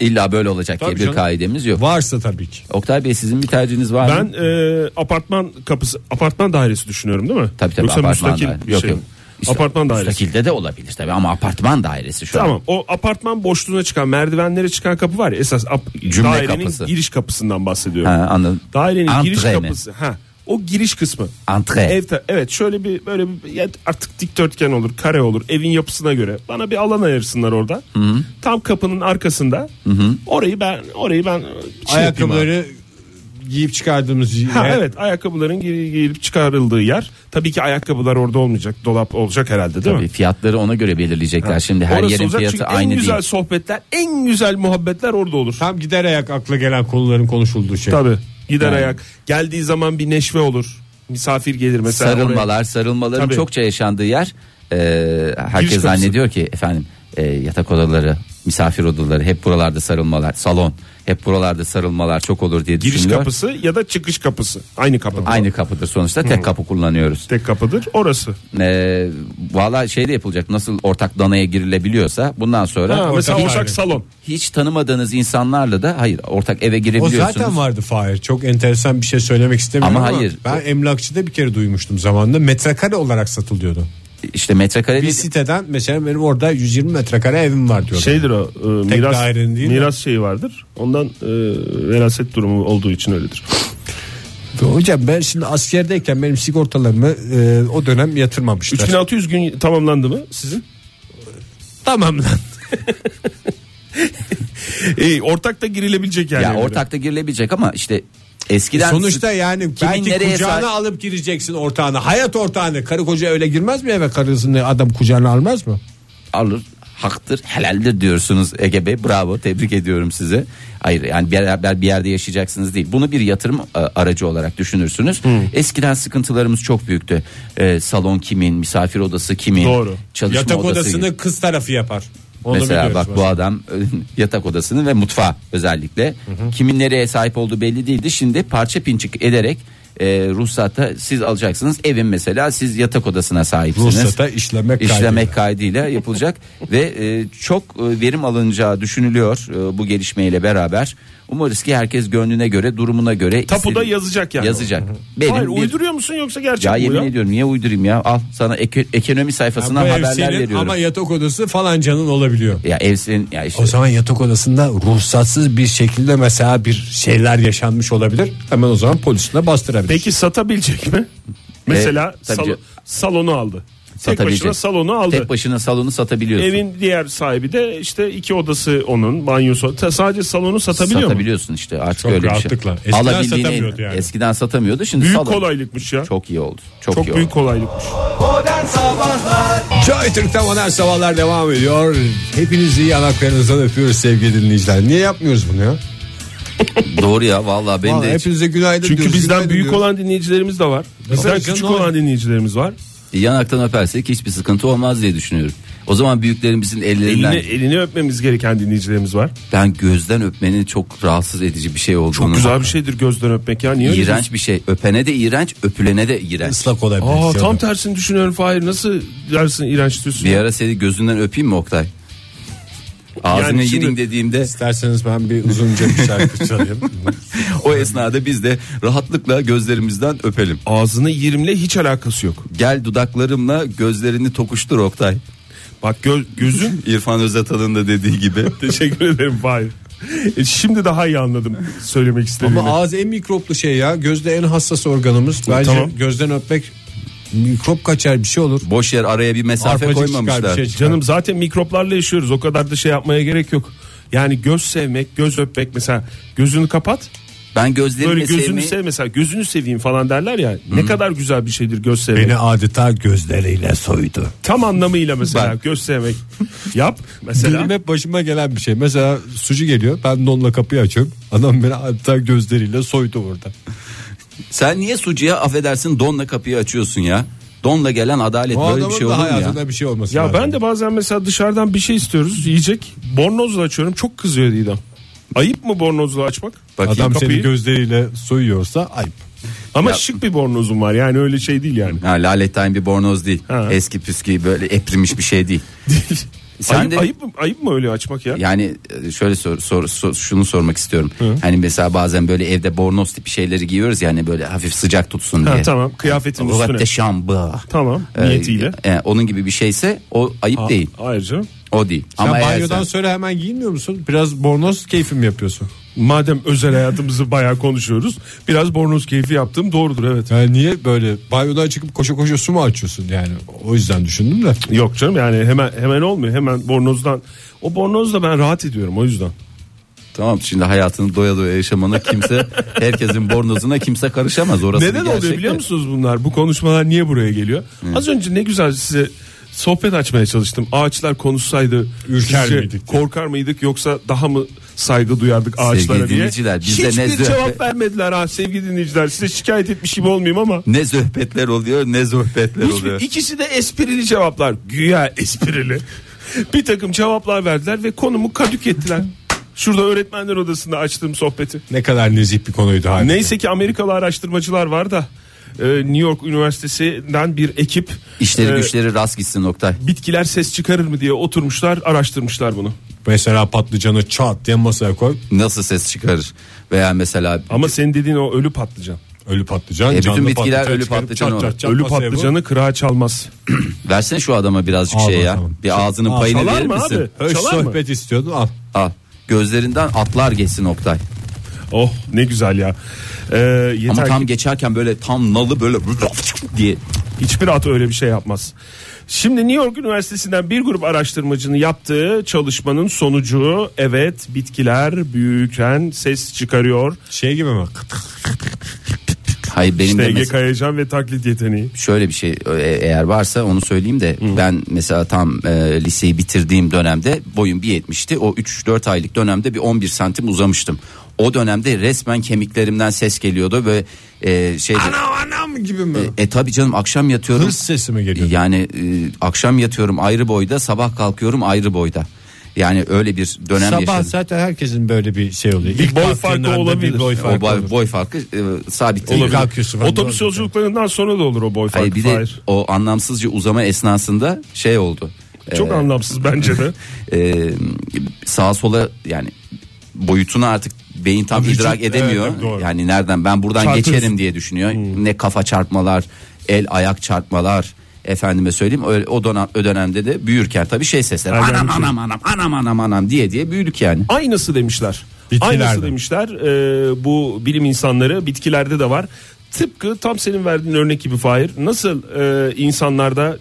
Speaker 5: illa böyle olacak diye
Speaker 3: Tabii
Speaker 5: bir
Speaker 3: canım.
Speaker 5: kaidemiz yok.
Speaker 3: Varsa tabii ki.
Speaker 5: Oktay Bey sizin bir tercihiniz var mı?
Speaker 4: Ben e, apartman kapısı apartman dairesi düşünüyorum değil mi?
Speaker 5: Tabii tabii
Speaker 4: Yoksa
Speaker 5: apartman
Speaker 4: müstakil
Speaker 5: dairesi.
Speaker 4: bir
Speaker 5: Yok
Speaker 4: şey
Speaker 5: yok.
Speaker 4: mi?
Speaker 5: İşte
Speaker 4: apartman dairesi.
Speaker 5: Müstakilde de olabilir tabii ama apartman dairesi şu
Speaker 4: Tamam
Speaker 5: an.
Speaker 4: o apartman boşluğuna çıkan merdivenlere çıkan kapı var ya esas ap-
Speaker 5: Cümle
Speaker 4: dairenin
Speaker 5: kapısı.
Speaker 4: giriş kapısından bahsediyorum.
Speaker 5: Ha, anladım.
Speaker 4: Dairenin giriş
Speaker 5: Antre mi?
Speaker 4: kapısı. Ha, o giriş kısmı.
Speaker 5: Antre.
Speaker 4: Ev ta- evet şöyle bir böyle bir ya artık dikdörtgen olur kare olur evin yapısına göre. Bana bir alan ayırsınlar orada. Tam kapının arkasında. Orayı ben orayı ben şey yapayım abi.
Speaker 3: Ayakkabıları giyip çıkardığımız
Speaker 4: Ha,
Speaker 3: yer.
Speaker 4: evet ayakkabıların gir- girip çıkarıldığı yer. Tabii ki ayakkabılar orada olmayacak. Dolap olacak herhalde değil mi?
Speaker 5: Tabii fiyatları ona göre belirleyecekler. Şimdi her
Speaker 4: Orası
Speaker 5: yerin
Speaker 4: olacak
Speaker 5: fiyatı
Speaker 4: çünkü
Speaker 5: aynı
Speaker 4: en güzel
Speaker 5: değil.
Speaker 4: sohbetler, en güzel muhabbetler orada olur.
Speaker 3: Tam gider ayak akla gelen konuların konuşulduğu şey.
Speaker 4: Tabii. Gider
Speaker 5: Yani.
Speaker 4: ayak. Geldiği zaman bir neşve olur. Misafir gelir mesela.
Speaker 5: sarılmalar, sarılmaların
Speaker 4: Tabii.
Speaker 5: çokça yaşandığı yer. e, herkes
Speaker 4: kapısı.
Speaker 5: zannediyor ki efendim e, yatak odaları, misafir odaları hep buralarda sarılmalar, salon hep buralarda sarılmalar çok olur diye
Speaker 4: Giriş
Speaker 5: düşünülüyor.
Speaker 4: kapısı ya da çıkış kapısı. Aynı kapıdır.
Speaker 5: Aynı kapıdır sonuçta tek kapı kullanıyoruz.
Speaker 4: Tek kapıdır orası.
Speaker 5: E, Valla şey de yapılacak nasıl ortak danaya girilebiliyorsa bundan sonra
Speaker 4: Ha, mesela
Speaker 3: ortak
Speaker 4: ortak
Speaker 3: daire.
Speaker 4: salon.
Speaker 5: hiç tanımadığınız insanlarla da hayır ortak eve
Speaker 3: O
Speaker 5: girebiliyorsunuz.
Speaker 3: zaten vardı Fahir. Çok enteresan bir şey söylemek istemiyorum
Speaker 5: Ama
Speaker 3: ama,
Speaker 5: hayır.
Speaker 3: ben emlakçıda bir kere duymuştum zamanında. Metrekare olarak satılıyordu.
Speaker 5: İşte metrekare
Speaker 3: Bir
Speaker 5: değil-
Speaker 3: siteden mesela benim orada 120 metrekare evim var diyordu.
Speaker 4: Şeydir o e,
Speaker 3: Tek
Speaker 4: miras
Speaker 3: dairenin değil mi?
Speaker 4: miras şeyi vardır. Ondan e, veraset durumu olduğu için öyledir.
Speaker 3: Şey, Hocam ben şimdi askerdeyken benim sigortalarımı e, o dönem yatırmamışlar.
Speaker 4: 3600 gün tamamlandı mı sizin?
Speaker 3: Tamam lan.
Speaker 4: E, ortak da girilebilecek yani.
Speaker 5: ya
Speaker 4: evlere.
Speaker 5: ortakta girilebilecek ama işte eskiden
Speaker 3: E Sonuçta yani
Speaker 5: Kimin nereye
Speaker 3: belki kucağına
Speaker 5: sahip-
Speaker 3: alıp gireceksin ortağına. Hayat ortağını. Karı koca öyle girmez mi eve karısını adam kucağına almaz mı?
Speaker 5: alır haktır helaldir diyorsunuz Ege Bey bravo tebrik ediyorum sizi hayır yani beraber bir yerde yaşayacaksınız değil bunu bir yatırım e, aracı olarak düşünürsünüz eskiden sıkıntılarımız çok büyüktü E, salon kimin misafir odası kimin
Speaker 4: Doğru.
Speaker 5: çalışma
Speaker 3: Yatak
Speaker 5: odası
Speaker 3: odasını
Speaker 5: kimin?
Speaker 3: kız tarafı yapar. Onu
Speaker 5: mesela
Speaker 3: biliyoruz
Speaker 5: bak bu adam *laughs* e, yatak odasını ve mutfağı özellikle kimin nereye sahip olduğu belli değildi şimdi parça pinçik ederek e, ruhsata siz alacaksınız evin mesela siz yatak odasına sahipsiniz
Speaker 3: Ruhsata işlemek
Speaker 5: işlemek kaydıyla yapılacak ve e, çok e, verim alınacağı düşünülüyor e, bu gelişmeyle beraber. Umarız ki herkes gönlüne göre, durumuna göre
Speaker 4: Tapuda
Speaker 5: istedi-
Speaker 4: yazacak yani.
Speaker 5: Yazacak. Benim
Speaker 4: Hayır
Speaker 5: bir-
Speaker 4: uyduruyor musun yoksa gerçek
Speaker 5: ya
Speaker 4: mi bu
Speaker 5: yemin ediyorum niye uydurayım ya? Al sana ek- ekonomi sayfasından
Speaker 3: Bu ev
Speaker 5: haberler
Speaker 3: senin
Speaker 5: veriyorum.
Speaker 3: Ama yatak odası falancanın olabiliyor.
Speaker 5: Ya ev senin ya işte
Speaker 3: O zaman yatak odasında ruhsatsız bir şekilde mesela bir şeyler yaşanmış olabilir. Hemen o zaman polisine bastırabilir.
Speaker 4: Peki satabilecek mi? Mesela
Speaker 5: tabii
Speaker 4: salo-
Speaker 5: ki.
Speaker 4: salonu aldı. Tek
Speaker 5: satabilecek.
Speaker 4: başına salonu aldı.
Speaker 5: Tek başına salonu satabiliyorsun.
Speaker 4: Evin diğer sahibi de işte iki odası onun banyosu. Ta- Sadece salonu satabiliyor mu?
Speaker 5: satabiliyorsun işte artık
Speaker 3: Çok
Speaker 5: öyle
Speaker 3: rahatlıkla.
Speaker 5: bir şey.
Speaker 3: Eskiden satamıyordu yani.
Speaker 5: Eskiden satamıyordu şimdi
Speaker 4: Büyük
Speaker 5: salon.
Speaker 4: kolaylıkmış ya. Çok,
Speaker 5: Çok iyi oldu. Çok, iyi
Speaker 4: büyük
Speaker 5: oldu.
Speaker 4: kolaylıkmış.
Speaker 3: Joy Türk'te modern sabahlar devam ediyor. Hepinizi yanaklarınızdan öpüyoruz sevgili dinleyiciler. Niye yapmıyoruz bunu ya?
Speaker 5: Doğru ya vallahi benim
Speaker 3: Vallahi
Speaker 5: de hiç-
Speaker 3: hepinize günaydın
Speaker 4: Çünkü
Speaker 3: diyoruz,
Speaker 4: bizden
Speaker 3: günaydın
Speaker 4: büyük
Speaker 3: diyoruz.
Speaker 4: olan dinleyicilerimiz de var. Bizden
Speaker 3: canım,
Speaker 4: küçük
Speaker 3: ne oluyor?
Speaker 4: olan dinleyicilerimiz var.
Speaker 5: yanaktan öpersek hiçbir sıkıntı olmaz diye düşünüyorum. O zaman büyüklerimizin ellerinden
Speaker 4: Elini, elini öpmemiz gereken dinleyicilerimiz var.
Speaker 5: ben gözden öpmenin çok rahatsız edici bir şey olduğunu.
Speaker 4: Çok güzel bir şeydir gözden öpmek ya. Niye öyle
Speaker 5: İğrenç bir şey. Öpene de iğrenç, öpülene de iğrenç.
Speaker 2: Islak olabilir.
Speaker 4: diyorsun? Aa,
Speaker 2: Şöyle.
Speaker 4: tam tersini düşünüyorum Fahir. Nasıl dersin iğrenç diyorsun?
Speaker 5: şey Bir ara seni gözünden öpeyim mi Oktay? Ağzını
Speaker 4: şimdi-
Speaker 5: yedin dediğimde
Speaker 2: İsterseniz ben bir uzunca bir şarkı çalayım.
Speaker 5: o esnada biz de rahatlıkla gözlerimizden öpelim.
Speaker 4: Ağzını yirimle hiç alakası
Speaker 5: *laughs*
Speaker 4: yok.
Speaker 5: Gel dudaklarımla gözlerini tokuştur Oktay.
Speaker 4: Bak gö- gözün
Speaker 5: *laughs* İrfan Özatal'ın da dediği gibi.
Speaker 4: teşekkür ederim Fahir. E, şimdi daha iyi anladım söylemek istediğimi.
Speaker 2: Ama ağız en mikroplu şey ya. Gözde en hassas organımız. Bence
Speaker 4: Tamam.
Speaker 2: gözden öpmek mikrop kaçar bir şey olur.
Speaker 5: Boş yer araya bir mesafe
Speaker 2: Arpacık çıkar bir
Speaker 5: koymamışlar.
Speaker 2: şey çıkar.
Speaker 4: Canım zaten mikroplarla yaşıyoruz. O kadar da şey yapmaya gerek yok. Yani göz sevmek, göz öpmek mesela gözünü kapat.
Speaker 5: Ben gözlerimi
Speaker 4: Böyle gözünü
Speaker 5: sevmeyi-
Speaker 4: sev mesela gözünü seveyim falan derler ya. Ne kadar güzel bir şeydir göz sevmek.
Speaker 3: Beni adeta gözleriyle soydu.
Speaker 4: Tam anlamıyla mesela göz sevmek. Yap mesela.
Speaker 2: Benim hep başıma gelen bir şey. Mesela sucu geliyor. Ben donla kapıyı açıyorum. Adam beni hatta gözleriyle soydu orada.
Speaker 5: Sen niye sucuya affedersin donla kapıyı açıyorsun ya? Donla gelen adalet
Speaker 2: O
Speaker 5: böyle
Speaker 2: adamın
Speaker 5: bir şey
Speaker 2: da
Speaker 5: olur mu ya?
Speaker 2: hayatında bir şey olması
Speaker 4: Ya
Speaker 2: lazım.
Speaker 4: ben de bazen mesela dışarıdan bir şey istiyoruz yiyecek. Bornozla açıyorum çok kızıyor Didem. Ayıp mı bornozla açmak?
Speaker 5: Bakayım
Speaker 2: Adam
Speaker 4: kapıyı.
Speaker 2: seni gözleriyle soyuyorsa ayıp.
Speaker 4: Ama şık bir bornozum var yani öyle şey değil yani.
Speaker 5: Ha, lalettayn bir bornoz değil.
Speaker 4: Ha.
Speaker 5: Eski püskü böyle eprimiş bir
Speaker 4: *laughs*
Speaker 5: şey değil. Sen
Speaker 4: ayıp,
Speaker 5: de
Speaker 4: ayıp, mı, ayıp mı öyle açmak ya?
Speaker 5: yani e, şöyle sor, sor- sor- şunu sormak istiyorum. Hani mesela bazen böyle evde bornoz tipi şeyleri giyiyoruz yani böyle hafif sıcak tutsun diye.
Speaker 4: Ha, tamam kıyafetin üstüne.
Speaker 5: Rugatte şambı.
Speaker 4: Tamam
Speaker 5: Ee,
Speaker 4: niyetiyle.
Speaker 5: e, onun gibi bir şeyse o ayıp değil.
Speaker 4: Ayrıca
Speaker 5: O değil.
Speaker 2: Sen
Speaker 5: Ama eğer
Speaker 2: banyodan
Speaker 5: sen-
Speaker 2: sonra hemen giyinmiyor musun? Biraz bornoz keyfi mi yapıyorsun?
Speaker 4: madem özel hayatımızı bayağı konuşuyoruz. Biraz bornoz keyfi yaptığım doğrudur evet.
Speaker 2: Yani niye böyle banyodan çıkıp koşa koşa su mu açıyorsun yani? O yüzden düşündüm de.
Speaker 4: Yok canım yani hemen hemen olmuyor. Hemen bornozdan. O bornozla ben rahat ediyorum o yüzden.
Speaker 5: Tamam şimdi hayatını doya doya yaşamana
Speaker 4: *laughs*
Speaker 5: kimse herkesin bornozuna kimse karışamaz orası. bir
Speaker 4: Neden oluyor
Speaker 5: gerçek
Speaker 4: biliyor
Speaker 5: de.
Speaker 4: musunuz bunlar? Bu konuşmalar niye buraya geliyor? Az önce ne güzel size sohbet açmaya çalıştım. Ağaçlar konuşsaydı
Speaker 2: Ürker
Speaker 4: sizce
Speaker 2: miydik?
Speaker 4: Korkar mıydık yoksa daha mı saygı duyardık
Speaker 5: Sevgili
Speaker 4: ağaçlara diye?
Speaker 5: dinleyiciler, biz de
Speaker 4: Hiçbir
Speaker 5: ne zö-
Speaker 4: cevap vermediler ha sevgili dinleyiciler. Size şikayet etmiş gibi olmayayım ama.
Speaker 5: Ne zöhbetler oluyor ne zöhbetler oluyor.
Speaker 4: Hiçbir, ikisi de esprili cevaplar. Güya esprili. bir takım cevaplar verdiler ve konumu kadük ettiler. Şurada öğretmenler odasında açtığım sohbeti.
Speaker 2: Ne kadar nezih bir konuydu halbuki.
Speaker 4: Neyse ki Amerikalı araştırmacılar var da e, New York Üniversitesi'nden bir ekip
Speaker 5: İşleri
Speaker 4: e,
Speaker 5: güçleri rast gitsin Oktay.
Speaker 4: bitkiler ses çıkarır mı diye oturmuşlar araştırmışlar bunu.
Speaker 2: Mesela patlıcanı çat diye masaya koy.
Speaker 5: Nasıl ses çıkarır? Veya mesela
Speaker 4: Ama senin dediğin o ölü patlıcan.
Speaker 2: Ölü patlıcan,
Speaker 5: E, bütün
Speaker 2: canlı
Speaker 5: bitkiler
Speaker 2: patlıcan
Speaker 5: ölü
Speaker 2: çıkarıp
Speaker 5: patlıcan
Speaker 2: çat
Speaker 5: olur.
Speaker 2: çat çat
Speaker 4: ölü
Speaker 2: masaya koy.
Speaker 4: patlıcanı kırağa çalmaz.
Speaker 5: versene şu adama birazcık
Speaker 2: Al
Speaker 5: şey ya.
Speaker 2: bakalım.
Speaker 5: Bir ağzının
Speaker 2: Al,
Speaker 5: payını
Speaker 4: çalar
Speaker 5: verir
Speaker 4: mı
Speaker 5: misin?
Speaker 4: abi?
Speaker 2: Öz
Speaker 4: Çalar mı?
Speaker 2: sohbet istiyordun al.
Speaker 5: Al. Gözlerinden atlar geçsin Oktay.
Speaker 4: Oh ne güzel ya. Ee,
Speaker 5: Ama
Speaker 4: yeter
Speaker 5: tam
Speaker 4: ki
Speaker 5: geçerken böyle tam nalı böyle *laughs* diye.
Speaker 4: hiçbir at öyle bir şey yapmaz. Şimdi New York Üniversitesi'nden bir grup araştırmacının yaptığı çalışmanın sonucu evet bitkiler büyürken ses çıkarıyor.
Speaker 2: Şey gibi mi?
Speaker 5: Hayır benim
Speaker 4: İşte
Speaker 5: de
Speaker 4: Ege
Speaker 5: mes-
Speaker 4: Kayacan ve taklit yeteneği.
Speaker 5: şöyle bir şey e- eğer varsa onu söyleyeyim de ben mesela tam e, liseyi bitirdiğim dönemde boyum 1.70'ti. O 3-4 aylık dönemde bir 11 santim uzamıştım. O dönemde resmen kemiklerimden ses geliyordu ve e, şeyde
Speaker 2: anam gibi mi?
Speaker 5: e tabi canım akşam yatıyorum.
Speaker 2: Hırs sesi mi geliyor?
Speaker 5: Yani e, akşam yatıyorum ayrı boyda, sabah kalkıyorum ayrı boyda. Yani öyle bir dönem
Speaker 2: Sabah
Speaker 5: yaşadım.
Speaker 2: zaten herkesin böyle bir şey oluyor.
Speaker 4: Bir
Speaker 2: İlk
Speaker 4: boy
Speaker 2: kalktığın
Speaker 4: farkı
Speaker 2: anda
Speaker 4: olabilir.
Speaker 2: bir Boy
Speaker 4: O
Speaker 5: E, o
Speaker 2: farkı
Speaker 5: boy,
Speaker 2: olur.
Speaker 5: boy farkı e, sabit değil.
Speaker 2: Olabilir. Kalkıyorsun falan.
Speaker 4: Otobüs
Speaker 2: Doğru.
Speaker 4: yolculuklarından sonra da olur o boy
Speaker 5: Hayır
Speaker 4: farkı.
Speaker 5: bir de
Speaker 4: Hayır.
Speaker 5: o anlamsızca uzama esnasında şey oldu.
Speaker 4: Çok anlamsız bence
Speaker 5: *laughs*
Speaker 4: de.
Speaker 5: Ee, sağa sola yani boyutunu artık beyin tam
Speaker 2: Vücut,
Speaker 5: idrak edemiyor.
Speaker 2: evet, doğru. Hmm.
Speaker 5: yani nereden ben buradan
Speaker 4: Çarpıyorsun.
Speaker 5: geçerim diye düşünüyor. Ne kafa çarpmalar, el ayak çarpmalar. Efendime söyleyeyim öyle- o dönem o dönemde de büyürken tabii şey sesler.
Speaker 4: Ergenlik
Speaker 5: Anam
Speaker 4: şey.
Speaker 5: anam anam anam anam anam diye diye büyüdük yani.
Speaker 4: Aynısı demişler.
Speaker 2: Bitkilerde.
Speaker 4: Aynısı demişler. Ee, bu bilim insanları bitkilerde de var. Tıpkı tam senin verdiğin örnek gibi Fahir. Nasıl e, insanlarda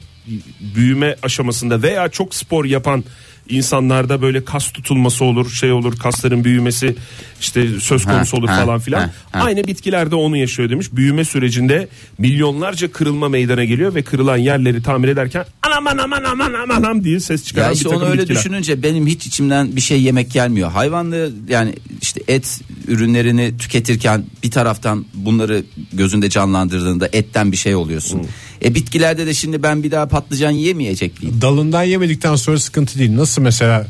Speaker 4: büyüme aşamasında veya çok spor yapan insanlarda böyle kas tutulması olur, şey olur, kasların büyümesi işte söz konusu
Speaker 5: Ha,
Speaker 4: olur
Speaker 5: ha,
Speaker 4: falan filan.
Speaker 5: ha, ha.
Speaker 4: Aynı bitkilerde onu yaşıyor demiş. Büyüme sürecinde milyonlarca kırılma meydana geliyor ve kırılan yerleri tamir ederken anam anam anam anam anam diye ses çıkaran
Speaker 5: Ya
Speaker 4: bir
Speaker 5: işte
Speaker 4: takım
Speaker 5: onu öyle
Speaker 4: bitkiler.
Speaker 5: düşününce benim hiç içimden bir şey yemek gelmiyor. Hayvanlı yani işte et
Speaker 4: Hmm.
Speaker 5: ürünlerini tüketirken bir taraftan bunları gözünde canlandırdığında etten bir şey oluyorsun. E bitkilerde de şimdi ben bir daha patlıcan yemeyecek miyim?
Speaker 3: Dalından yemedikten sonra sıkıntı değil. Nasıl mesela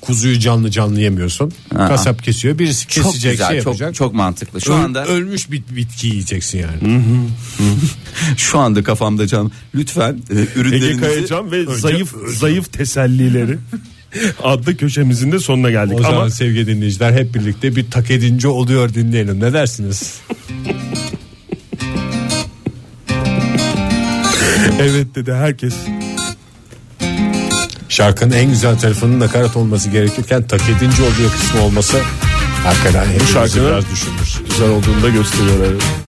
Speaker 3: kuzuyu canlı canlı yemiyorsun.
Speaker 5: Aa.
Speaker 3: Kasap kesiyor. Birisi
Speaker 5: Çok
Speaker 3: kesecek
Speaker 5: güzel,
Speaker 3: şey
Speaker 5: çok
Speaker 3: yapacak.
Speaker 5: çok mantıklı. Şu
Speaker 3: Öl-
Speaker 5: anda
Speaker 3: ölmüş bit bitki yiyeceksin yani.
Speaker 5: şu anda kafamda can. Lütfen e,
Speaker 4: Ege
Speaker 5: ürünlerinizi
Speaker 4: Kayacan ve zayıf
Speaker 3: *laughs*
Speaker 4: zayıf tesellileri adlı köşemizin de sonuna geldik.
Speaker 3: O zaman
Speaker 4: Ama
Speaker 3: sevgili dinleyiciler hep birlikte bir tak edince oluyor dinleyelim. Ne dersiniz?
Speaker 4: evet dedi herkes.
Speaker 3: Şarkının en güzel tarafının nakarat olması gerekirken tak edince oluyor kısmı olması hakikaten hepimizi
Speaker 4: şarkının-
Speaker 3: biraz düşünmüş.
Speaker 4: Güzel olduğunu da gösteriyor. evet.